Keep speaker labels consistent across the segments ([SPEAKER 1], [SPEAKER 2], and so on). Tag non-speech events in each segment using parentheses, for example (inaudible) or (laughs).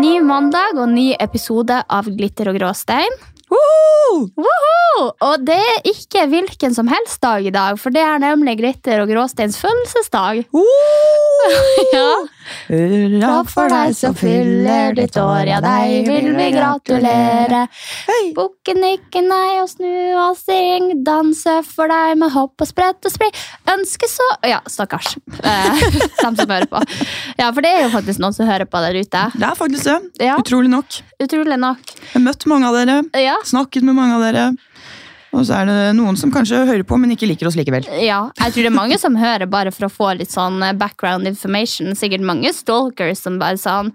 [SPEAKER 1] Ny mandag og ny episode av Glitter og gråstein. Woho! Og det er ikke hvilken som helst dag i dag, for det er nemlig Glitter og gråsteins følelsesdag. (laughs) ja.
[SPEAKER 2] Hurra
[SPEAKER 1] Hurra for deg som fyller ditt år, ja deg vil vi gratulere.
[SPEAKER 2] Hei.
[SPEAKER 1] Bukke, nikke, nei og snu og syng, danse for deg med hopp og sprett og spring. Ønske så Ja, stakkars. Eh, (laughs) dem som hører på. Ja, for det er jo faktisk noen som hører på der ute.
[SPEAKER 2] Det er faktisk det.
[SPEAKER 1] Ja,
[SPEAKER 2] Utrolig nok.
[SPEAKER 1] utrolig nok.
[SPEAKER 2] Jeg har møtt mange av dere,
[SPEAKER 1] Ja,
[SPEAKER 2] snakket med mange av dere. Og så er det noen som kanskje hører på, men ikke liker oss likevel.
[SPEAKER 1] ja, jeg tror det er mange som hører bare for å få litt sånn eh, background information. Sikkert mange stalkers som bare sånn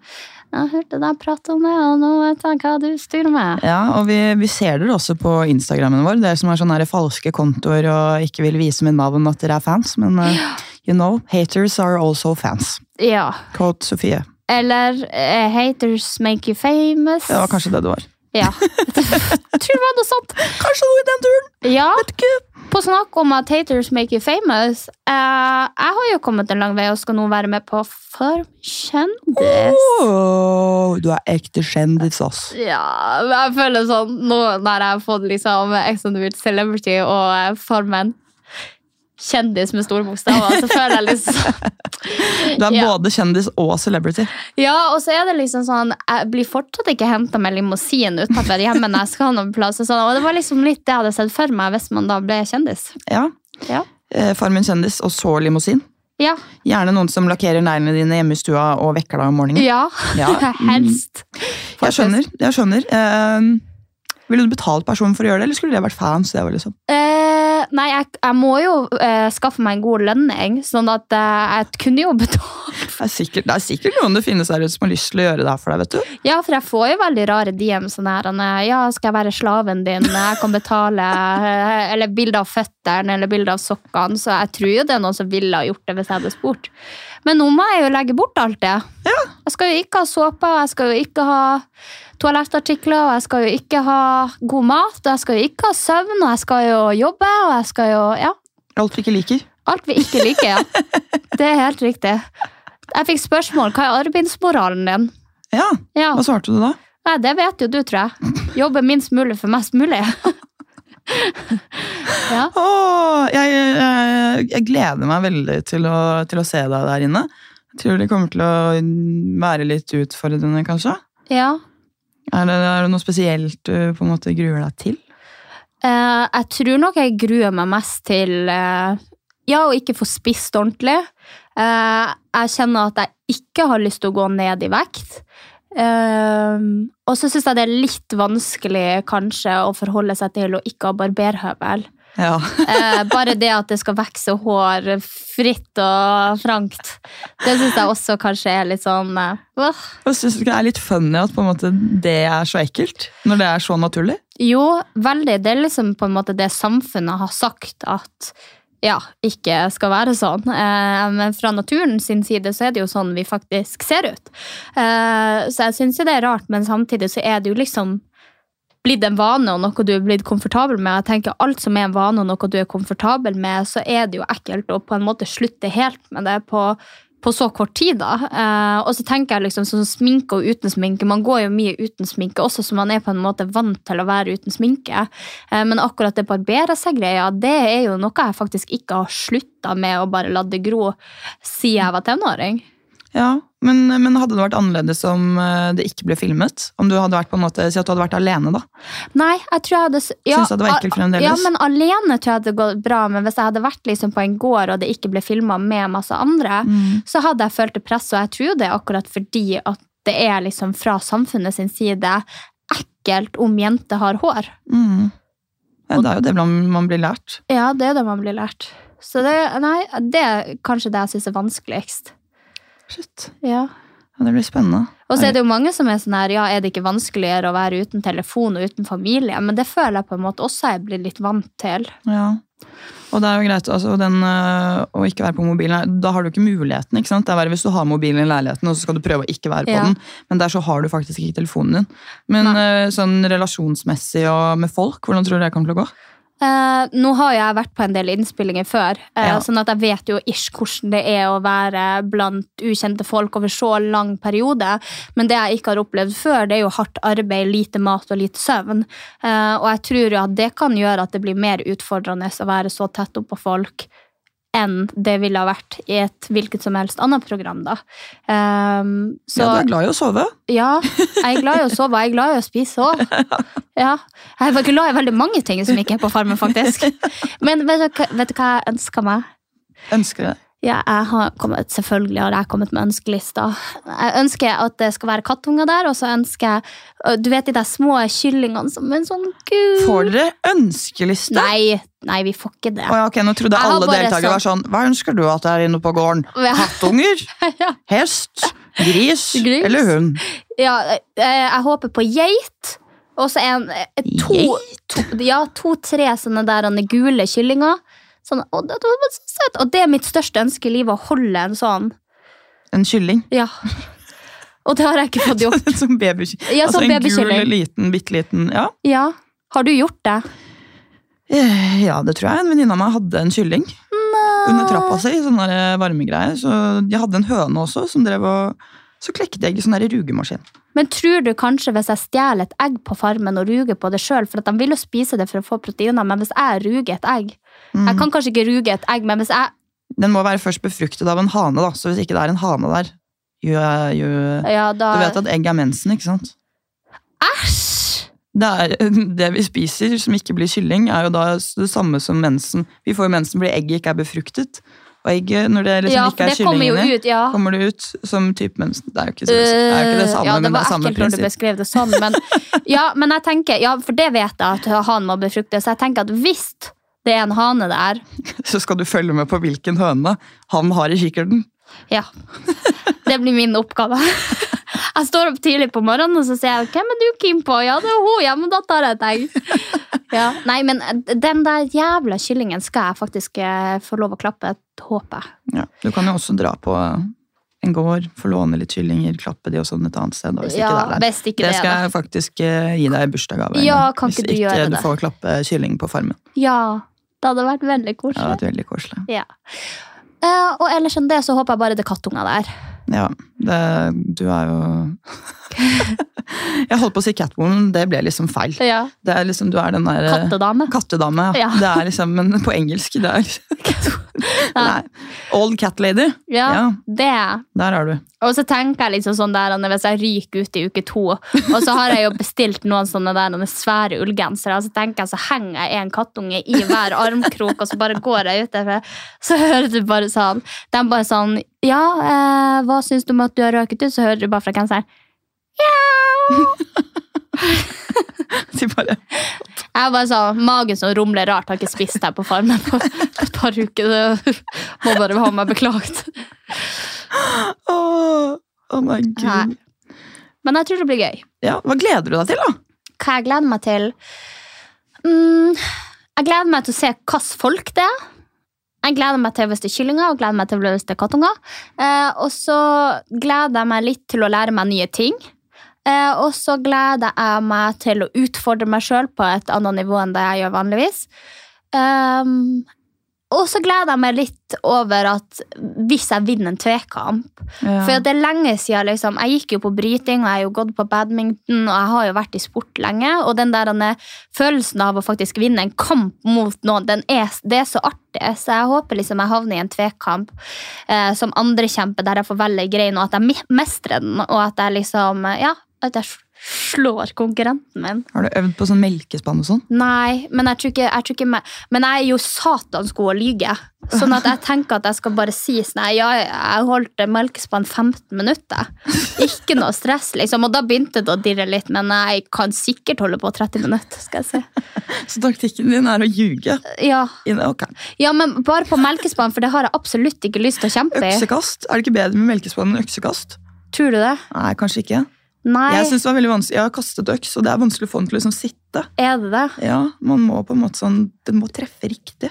[SPEAKER 1] Jeg hørte deg prate om det, og nå vet jeg hva du styrer med.
[SPEAKER 2] Ja, og vi, vi ser dere også på Instagrammen vår, dere som har sånne her falske kontoer og ikke vil vise med navn at dere er fans, men eh, you know, haters are also fans.
[SPEAKER 1] Ja.
[SPEAKER 2] Quote Sofie.
[SPEAKER 1] Eller eh, Haters make you famous.
[SPEAKER 2] Det var kanskje det det var.
[SPEAKER 1] Ja. Jeg tror det var noe sånt.
[SPEAKER 2] Kanskje noe i den turen,
[SPEAKER 1] Ja,
[SPEAKER 2] vet ikke.
[SPEAKER 1] På snakk om at haters make you famous eh, Jeg har jo kommet en lang vei og skal nå være med på Form kjendis.
[SPEAKER 2] Åh, du er ekte kjendis, ass.
[SPEAKER 1] Ja, men jeg føler sånn Nå når jeg har fått liksom Ex on the Beach Celebrity og eh, Formen kjendis med store bokstaver, så føler jeg liksom
[SPEAKER 2] Du er
[SPEAKER 1] Ja.
[SPEAKER 2] både kjendis og celebrity.
[SPEAKER 1] (laughs) Ja, og så er det liksom sånn Jeg blir fortsatt ikke henta med limousin utenfor hjemme når jeg skal noen plass. Og, sånn. og det var liksom litt det jeg hadde sett for meg hvis man da ble kjendis.
[SPEAKER 2] Ja.
[SPEAKER 1] Ja.
[SPEAKER 2] Eh, Far min kjendis, og så limousin.
[SPEAKER 1] Ja.
[SPEAKER 2] Gjerne noen som lakkerer neglene dine hjemme i stua og vekker deg om morgenen.
[SPEAKER 1] Mm. ja. (laughs)
[SPEAKER 2] Ja,
[SPEAKER 1] Helst.
[SPEAKER 2] jeg skjønner. jeg skjønner. Eh, ville du betalt personen for å gjøre det, eller skulle det vært fans? Det var liksom.
[SPEAKER 1] Eh, nei, jeg, jeg må jo eh, skaffe meg en god lønning, sånn at eh, jeg kunne jo betale.
[SPEAKER 2] Det er sikkert, det er sikkert noen det finnes der ute som har lyst til å gjøre det her for deg, vet du.
[SPEAKER 1] Ja, for jeg får jo veldig rare DM sånn her. han er, Ja, skal jeg være slaven din? Jeg kan betale. eh, Eller bilde av føttene, eller bilde av sokkene. Så jeg tror jo det er noen som ville ha gjort det hvis jeg hadde spurt. Men nå må jeg jo legge bort alt det. Jeg skal jo ikke ha såpe, og jeg skal jo ikke ha toalettartikler, og jeg skal jo ikke ha god mat, og jeg skal jo ikke ha søvn, og jeg skal jo jobbe, og jeg skal jo Ja.
[SPEAKER 2] Alt vi ikke liker.
[SPEAKER 1] Alt vi ikke liker, ja. Det er helt riktig. Jeg fikk spørsmål hva er arbeidsmoralen din.
[SPEAKER 2] Ja,
[SPEAKER 1] Ja,
[SPEAKER 2] Hva svarte du da?
[SPEAKER 1] Nei, Det vet jo du, tror jeg. Jobbe minst mulig for mest mulig. (laughs) ja.
[SPEAKER 2] Åh, jeg, jeg, jeg gleder meg veldig til å, til å se deg der inne. Jeg tror det kommer til å være litt utfordrende, kanskje.
[SPEAKER 1] ja.
[SPEAKER 2] Er det, er det noe spesielt du på en måte gruer deg til?
[SPEAKER 1] Eh, jeg tror nok jeg gruer meg mest til eh, ja, å ikke få spist ordentlig. Eh, jeg kjenner at jeg ikke har lyst til å gå ned i vekt. Eh, og så syns jeg det er litt vanskelig kanskje å forholde seg til å ikke ha barberhøvel.
[SPEAKER 2] Ja.
[SPEAKER 1] Eh, bare det at det skal vokse hår fritt og frankt, det syns jeg også kanskje er litt sånn eh, åh.
[SPEAKER 2] (laughs) Og synes du ikke det er litt funny at på en måte det er så ekkelt? Når det er så naturlig?
[SPEAKER 1] Jo, veldig. Det er liksom på en måte det samfunnet har sagt at ja, ikke skal være sånn. Eh, men fra naturen sin side så er det jo sånn vi faktisk ser ut. Eh, så jeg syns jo det er rart, men samtidig så er det jo liksom blitt en vane og noe du er blitt komfortabel med. Jeg tenker Alt som er en vane og noe du er komfortabel med, så er det jo ekkelt å på en måte slutte helt med det på, på så kort tid. da. Eh, og så tenker jeg liksom sånn sminke og uten sminke. Man går jo mye uten sminke også, så man er på en måte vant til å være uten sminke. Eh, men akkurat det barbere seg-greia, det er jo noe jeg faktisk ikke har slutta med å bare la det gro siden jeg var tenåring.
[SPEAKER 2] Ja, Men, men hadde det vært annerledes om eh, det ikke ble filmet? Om du hadde vært på en måte, Si at du hadde vært alene, da.
[SPEAKER 1] Nei, jeg tror jeg hadde s- ja,
[SPEAKER 2] Syns du det var ekkelt
[SPEAKER 1] al-
[SPEAKER 2] fremdeles?
[SPEAKER 1] Ja, men alene tror jeg det gått bra. Men hvis jeg hadde vært liksom på en gård og det ikke ble filma med masse andre,
[SPEAKER 2] Mm,
[SPEAKER 1] så hadde jeg følt det presset. Og jeg tror det er akkurat fordi at det er liksom fra samfunnet sin side ekkelt om jenter har hår.
[SPEAKER 2] Mm. Ja, det er jo det man man blir lært.
[SPEAKER 1] Ja, det er det man blir lært. Så det, nei, det er kanskje det jeg syns er vanskeligst.
[SPEAKER 2] Shit.
[SPEAKER 1] Ja.
[SPEAKER 2] Ja, det blir spennende.
[SPEAKER 1] Og så er det jo mange som er sånn her, ja, er det ikke vanskeligere å være uten telefon og uten familie? Men det føler jeg på en måte også jeg blir litt vant til.
[SPEAKER 2] Ja. Og det er jo greit altså, den, øh, å ikke være på mobilen. Da har du ikke muligheten. ikke sant? Det er verre hvis du har mobilen i leiligheten og så skal du prøve å ikke være på
[SPEAKER 1] Ja.
[SPEAKER 2] den. Men der så har du faktisk ikke telefonen din. Men øh, sånn relasjonsmessig og med folk, hvordan tror du det kommer til å gå?
[SPEAKER 1] Eh, nå har jo jeg vært på en del innspillinger før, eh,
[SPEAKER 2] Ja.
[SPEAKER 1] sånn at jeg vet jo ish hvordan det er å være blant ukjente folk over så lang periode. Men det jeg ikke har opplevd før, det er jo hardt arbeid, lite mat og lite søvn. Eh, og jeg tror jo at det kan gjøre at det blir mer utfordrende å være så tett oppå folk enn det ville ha vært i et hvilket som helst annet program, da. Eh, så,
[SPEAKER 2] Ja, du er glad i å sove.
[SPEAKER 1] ja, jeg er glad i å sove, og jeg er glad i å spise òg. Ja. Jeg er glad i veldig mange ting som ikke er på farmen, faktisk. Men vet du, hva- vet du hva jeg ønsker meg?
[SPEAKER 2] Ønsker det.
[SPEAKER 1] Ja, jeg har kommet, Selvfølgelig har jeg kommet med ønskelista. Jeg ønsker at det skal være kattunger der, og så ønsker jeg ø, Du vet de der små kyllingene som en sånn gud
[SPEAKER 2] Får dere ønskeliste?
[SPEAKER 1] Nei, nei, vi får ikke det.
[SPEAKER 2] Å ja, ok, Nå
[SPEAKER 1] Jeg
[SPEAKER 2] trodde jeg
[SPEAKER 1] har
[SPEAKER 2] alle
[SPEAKER 1] bare
[SPEAKER 2] deltakere var sånn Hva ønsker du at det er inne på gården?
[SPEAKER 1] Ja. (laughs)
[SPEAKER 2] Kattunger?
[SPEAKER 1] Ja.
[SPEAKER 2] Hest? Gris?
[SPEAKER 1] Gris.
[SPEAKER 2] Eller hund?
[SPEAKER 1] Ja, eh, jeg håper på geit. Og så en eh, to, to Ja, to-tre sånne der han er gule kyllinger. Sånn, og, det, det var så søtt. og det er mitt største ønske i livet, å holde en sånn.
[SPEAKER 2] En kylling? (laughs)
[SPEAKER 1] Ja. Og det har jeg ikke fått gjort.
[SPEAKER 2] som baby,
[SPEAKER 1] Ja, som
[SPEAKER 2] (laughs) altså en
[SPEAKER 1] babykylling.
[SPEAKER 2] gul, liten, bitte liten Ja.
[SPEAKER 1] Ja. Har du gjort det?
[SPEAKER 2] Eh, Ja, det tror jeg. En venninne av meg hadde en kylling under trappa si. sånne der eh, varmegreier. Så jeg hadde en høne også, som drev og Så klekte jeg i sånn der rugemaskin.
[SPEAKER 1] Men tror du kanskje hvis jeg stjeler et egg på farmen og ruger på det sjøl, for at de vil jo spise det for å få proteiner, men hvis jeg ruger et egg
[SPEAKER 2] Mm.
[SPEAKER 1] Jeg kan kanskje ikke ruge et egg, men hvis jeg
[SPEAKER 2] Den må være først befruktet av en hane, da. Så hvis ikke det er en hane der jo, jo,
[SPEAKER 1] Ja, da
[SPEAKER 2] Du vet at egg er mensen, ikke sant?
[SPEAKER 1] Æsj!
[SPEAKER 2] Det, er, (laughs) det vi spiser som ikke blir kylling, er jo da det samme som mensen. Vi får jo mensen fordi egget ikke er befruktet. Og egget, når det liksom
[SPEAKER 1] Ja, for
[SPEAKER 2] ikke er
[SPEAKER 1] det kommer jo
[SPEAKER 2] kyllingen i,
[SPEAKER 1] ut, ja.
[SPEAKER 2] kommer det ut som type mensen. Det er jo ikke, så, det, er jo ikke det
[SPEAKER 1] Eh, Øh,
[SPEAKER 2] samme,
[SPEAKER 1] ja, det
[SPEAKER 2] men det
[SPEAKER 1] var
[SPEAKER 2] er samme
[SPEAKER 1] ekkelt når du
[SPEAKER 2] prinsipp.
[SPEAKER 1] beskrev det sånn, men,
[SPEAKER 2] (laughs)
[SPEAKER 1] ja, men jeg tenker, ja, for det vet jeg at han må befrukte, så jeg tenker at hvis det er en hane der,
[SPEAKER 2] så skal du følge med på hvilken høne han har i kikkerten.
[SPEAKER 1] ja, (laughs) det blir min oppgave. (laughs) Jeg står opp tidlig på morgenen, og så sier jeg, hvem er du Kim på? Ja, det er hun, ja, men da tar jeg et egg. (laughs) Ja, nei, men eh, den der jævla kyllingen skal jeg faktisk eh, få lov å klappe, håper jeg.
[SPEAKER 2] Ja. Du kan jo også dra på en gård, få låne litt kyllinger, klappe de og sånn et annet sted. Da, hvis
[SPEAKER 1] Ja,
[SPEAKER 2] ikke det er der.
[SPEAKER 1] hvis ikke det er
[SPEAKER 2] skal
[SPEAKER 1] der.
[SPEAKER 2] jeg faktisk eh, gi deg i bursdagsgave. en
[SPEAKER 1] Ja,
[SPEAKER 2] gang,
[SPEAKER 1] kan
[SPEAKER 2] hvis
[SPEAKER 1] ikke du gjøre
[SPEAKER 2] du
[SPEAKER 1] det?
[SPEAKER 2] får klappe kylling på farmen.
[SPEAKER 1] Ja, det hadde vært veldig
[SPEAKER 2] Ja, det hadde
[SPEAKER 1] koselig.
[SPEAKER 2] vært veldig koselig.
[SPEAKER 1] Ja. Eh, og ellers enn det, så håper jeg bare det er kattunger der.
[SPEAKER 2] Ja, det, du er jo (laughs) Jeg holdt på å si Catwoman, det ble liksom feil.
[SPEAKER 1] Ja. Eh,
[SPEAKER 2] Det er liksom, du er den der
[SPEAKER 1] Kattedame.
[SPEAKER 2] Kattedame, ja.
[SPEAKER 1] Ja.
[SPEAKER 2] Det er liksom, men på engelsk, det er
[SPEAKER 1] (laughs)
[SPEAKER 2] Nei. Old cat lady.
[SPEAKER 1] Ja, det.
[SPEAKER 2] der er du.
[SPEAKER 1] Og så tenker jeg liksom sånn der, Anne, hvis jeg ryker ut i uke to, og så har jeg jo bestilt noen sånne der, Anne, svære ullgensere, og så tenker jeg, så henger jeg en kattunge i hver armkrok, og så bare går jeg ut derfra. Så hører du bare sånn, de bare sånn, ja, eh, hva synes du om at du har røket ut? Så hører du bare fra genseren,
[SPEAKER 2] (laughs) De bare
[SPEAKER 1] jeg er bare sånn, magen som rumler rart, har ikke spist her på farmen på et par uker, så må bare ha meg beklagt.
[SPEAKER 2] Åh, oh my god.
[SPEAKER 1] Nei. Men jeg tror det blir gøy.
[SPEAKER 2] Ja, hva gleder du deg til, da?
[SPEAKER 1] hva jeg gleder meg til. Mm, jeg gleder meg til å se hvilke folk det er. Jeg gleder meg til hvis det er kyllinger og gleder meg til hvis det er kattunger. Eh, og så gleder jeg meg litt til å lære meg nye ting. Eh, og så gleder jeg meg til å utfordre meg sjøl på et annet nivå enn det jeg gjør vanligvis. Um, Og så gleder jeg meg litt over at hvis jeg vinner en tvekamp
[SPEAKER 2] Ja.
[SPEAKER 1] For det er lenge siden liksom, Jeg gikk jo på bryting, og jeg har jo gått på badminton, og jeg har jo vært i sport lenge. Og den der denne følelsen av å faktisk vinne en kamp mot noen, den er, det er så artig. Så jeg håper liksom jeg havner i en tvekamp eh, som andrekjempe, der jeg får velge greien, og at jeg me- mestrer den, og at jeg liksom eh, Ja, at jeg s- slår konkurrenten min.
[SPEAKER 2] Har du øvd på sånn melkespann og sånn?
[SPEAKER 1] Nei, men jeg tror ikke, jeg tror ikke meg- Men jeg er jo satans god å lyge. Sånn at jeg tenker at jeg skal bare si sånn Nei, jeg, jeg holdt melkespann 15 minutter. Ikke noe stress, liksom. Og da begynte det å dirre litt, men jeg kan sikkert holde på 30 minutter. skal jeg si.
[SPEAKER 2] (laughs) Så taktikken din er å ljuge?
[SPEAKER 1] Ja,
[SPEAKER 2] I- Ok.
[SPEAKER 1] ja men bare på melkespann, for det har jeg absolutt ikke lyst til å kjempe i.
[SPEAKER 2] Øksekast? Er det ikke bedre med melkespann enn øksekast?
[SPEAKER 1] Tror du det?
[SPEAKER 2] Nei, kanskje ikke.
[SPEAKER 1] Nei,
[SPEAKER 2] Jeg synes det var veldig vanskelig. Jeg har kastet øks, og det er vanskelig å få den til å liksom sitte.
[SPEAKER 1] er det det?
[SPEAKER 2] Ja, man må på en måte sånn, Den må treffe riktig.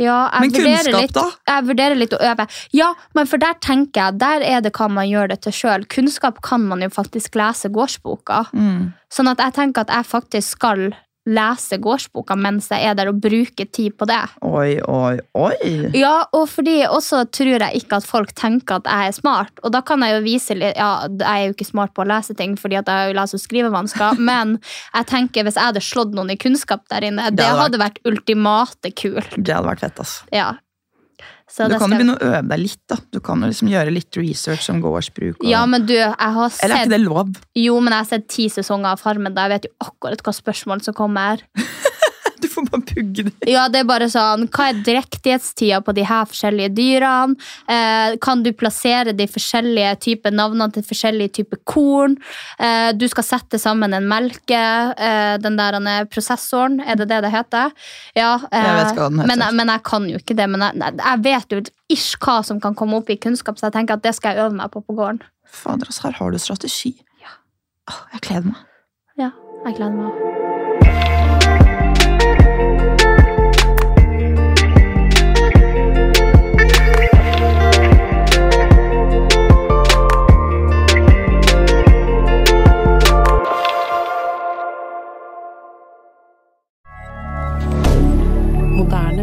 [SPEAKER 1] Ja, jeg
[SPEAKER 2] Men
[SPEAKER 1] vurderer
[SPEAKER 2] kunnskap,
[SPEAKER 1] litt,
[SPEAKER 2] da?
[SPEAKER 1] Jeg vurderer litt å øve. Ja, men for der tenker jeg, der er det hva man gjør det til sjøl. Kunnskap kan man jo faktisk lese gårdsboka.
[SPEAKER 2] Mm.
[SPEAKER 1] Sånn at jeg tenker at jeg faktisk skal lese gårdsboka mens jeg er der, og bruke tid på det.
[SPEAKER 2] Oi, oi, oi!
[SPEAKER 1] Ja, og fordi også tror jeg ikke at folk tenker at jeg er smart. Og da kan jeg jo vise litt Ja, jeg er jo ikke smart på å lese ting, fordi at jeg har jo lese- og
[SPEAKER 2] (laughs)
[SPEAKER 1] skrivevansker, men jeg tenker hvis jeg hadde slått noen i kunnskap der inne, det
[SPEAKER 2] hadde
[SPEAKER 1] hadde vært ultimate kult.
[SPEAKER 2] Det hadde vært fett. ass.
[SPEAKER 1] Ja. Så
[SPEAKER 2] Du
[SPEAKER 1] det skal-
[SPEAKER 2] kan jo begynne å øve deg litt. da. Du kan jo liksom gjøre litt research om gårdsbruk. Og...
[SPEAKER 1] Ja, men du, jeg har sett
[SPEAKER 2] Eller er ikke det lov?
[SPEAKER 1] Jo, men jeg har sett ti sesonger av Farmen, da jeg vet jo akkurat hva spørsmål som kommer.
[SPEAKER 2] Du får bare pugge det.
[SPEAKER 1] Ja, det er bare sånn, Hva er drektighetstida på de her forskjellige dyrene? Eh, kan du plassere de forskjellige typer navnene til forskjellige typer korn? Eh, du skal sette sammen en melke, eh, den der han er prosessoren, er det det det heter? Ja, eh,
[SPEAKER 2] Jeg vet hva den heter.
[SPEAKER 1] Men, jeg- men jeg kan jo ikke det. Men jeg, nei, jeg vet jo ish hva som kan komme opp i kunnskap, så jeg tenker at det skal jeg øve meg på på gården.
[SPEAKER 2] Fader, ass, her har du strategi. Åh, jeg gleder meg.
[SPEAKER 1] Ja, jeg gleder meg.
[SPEAKER 3] Moderne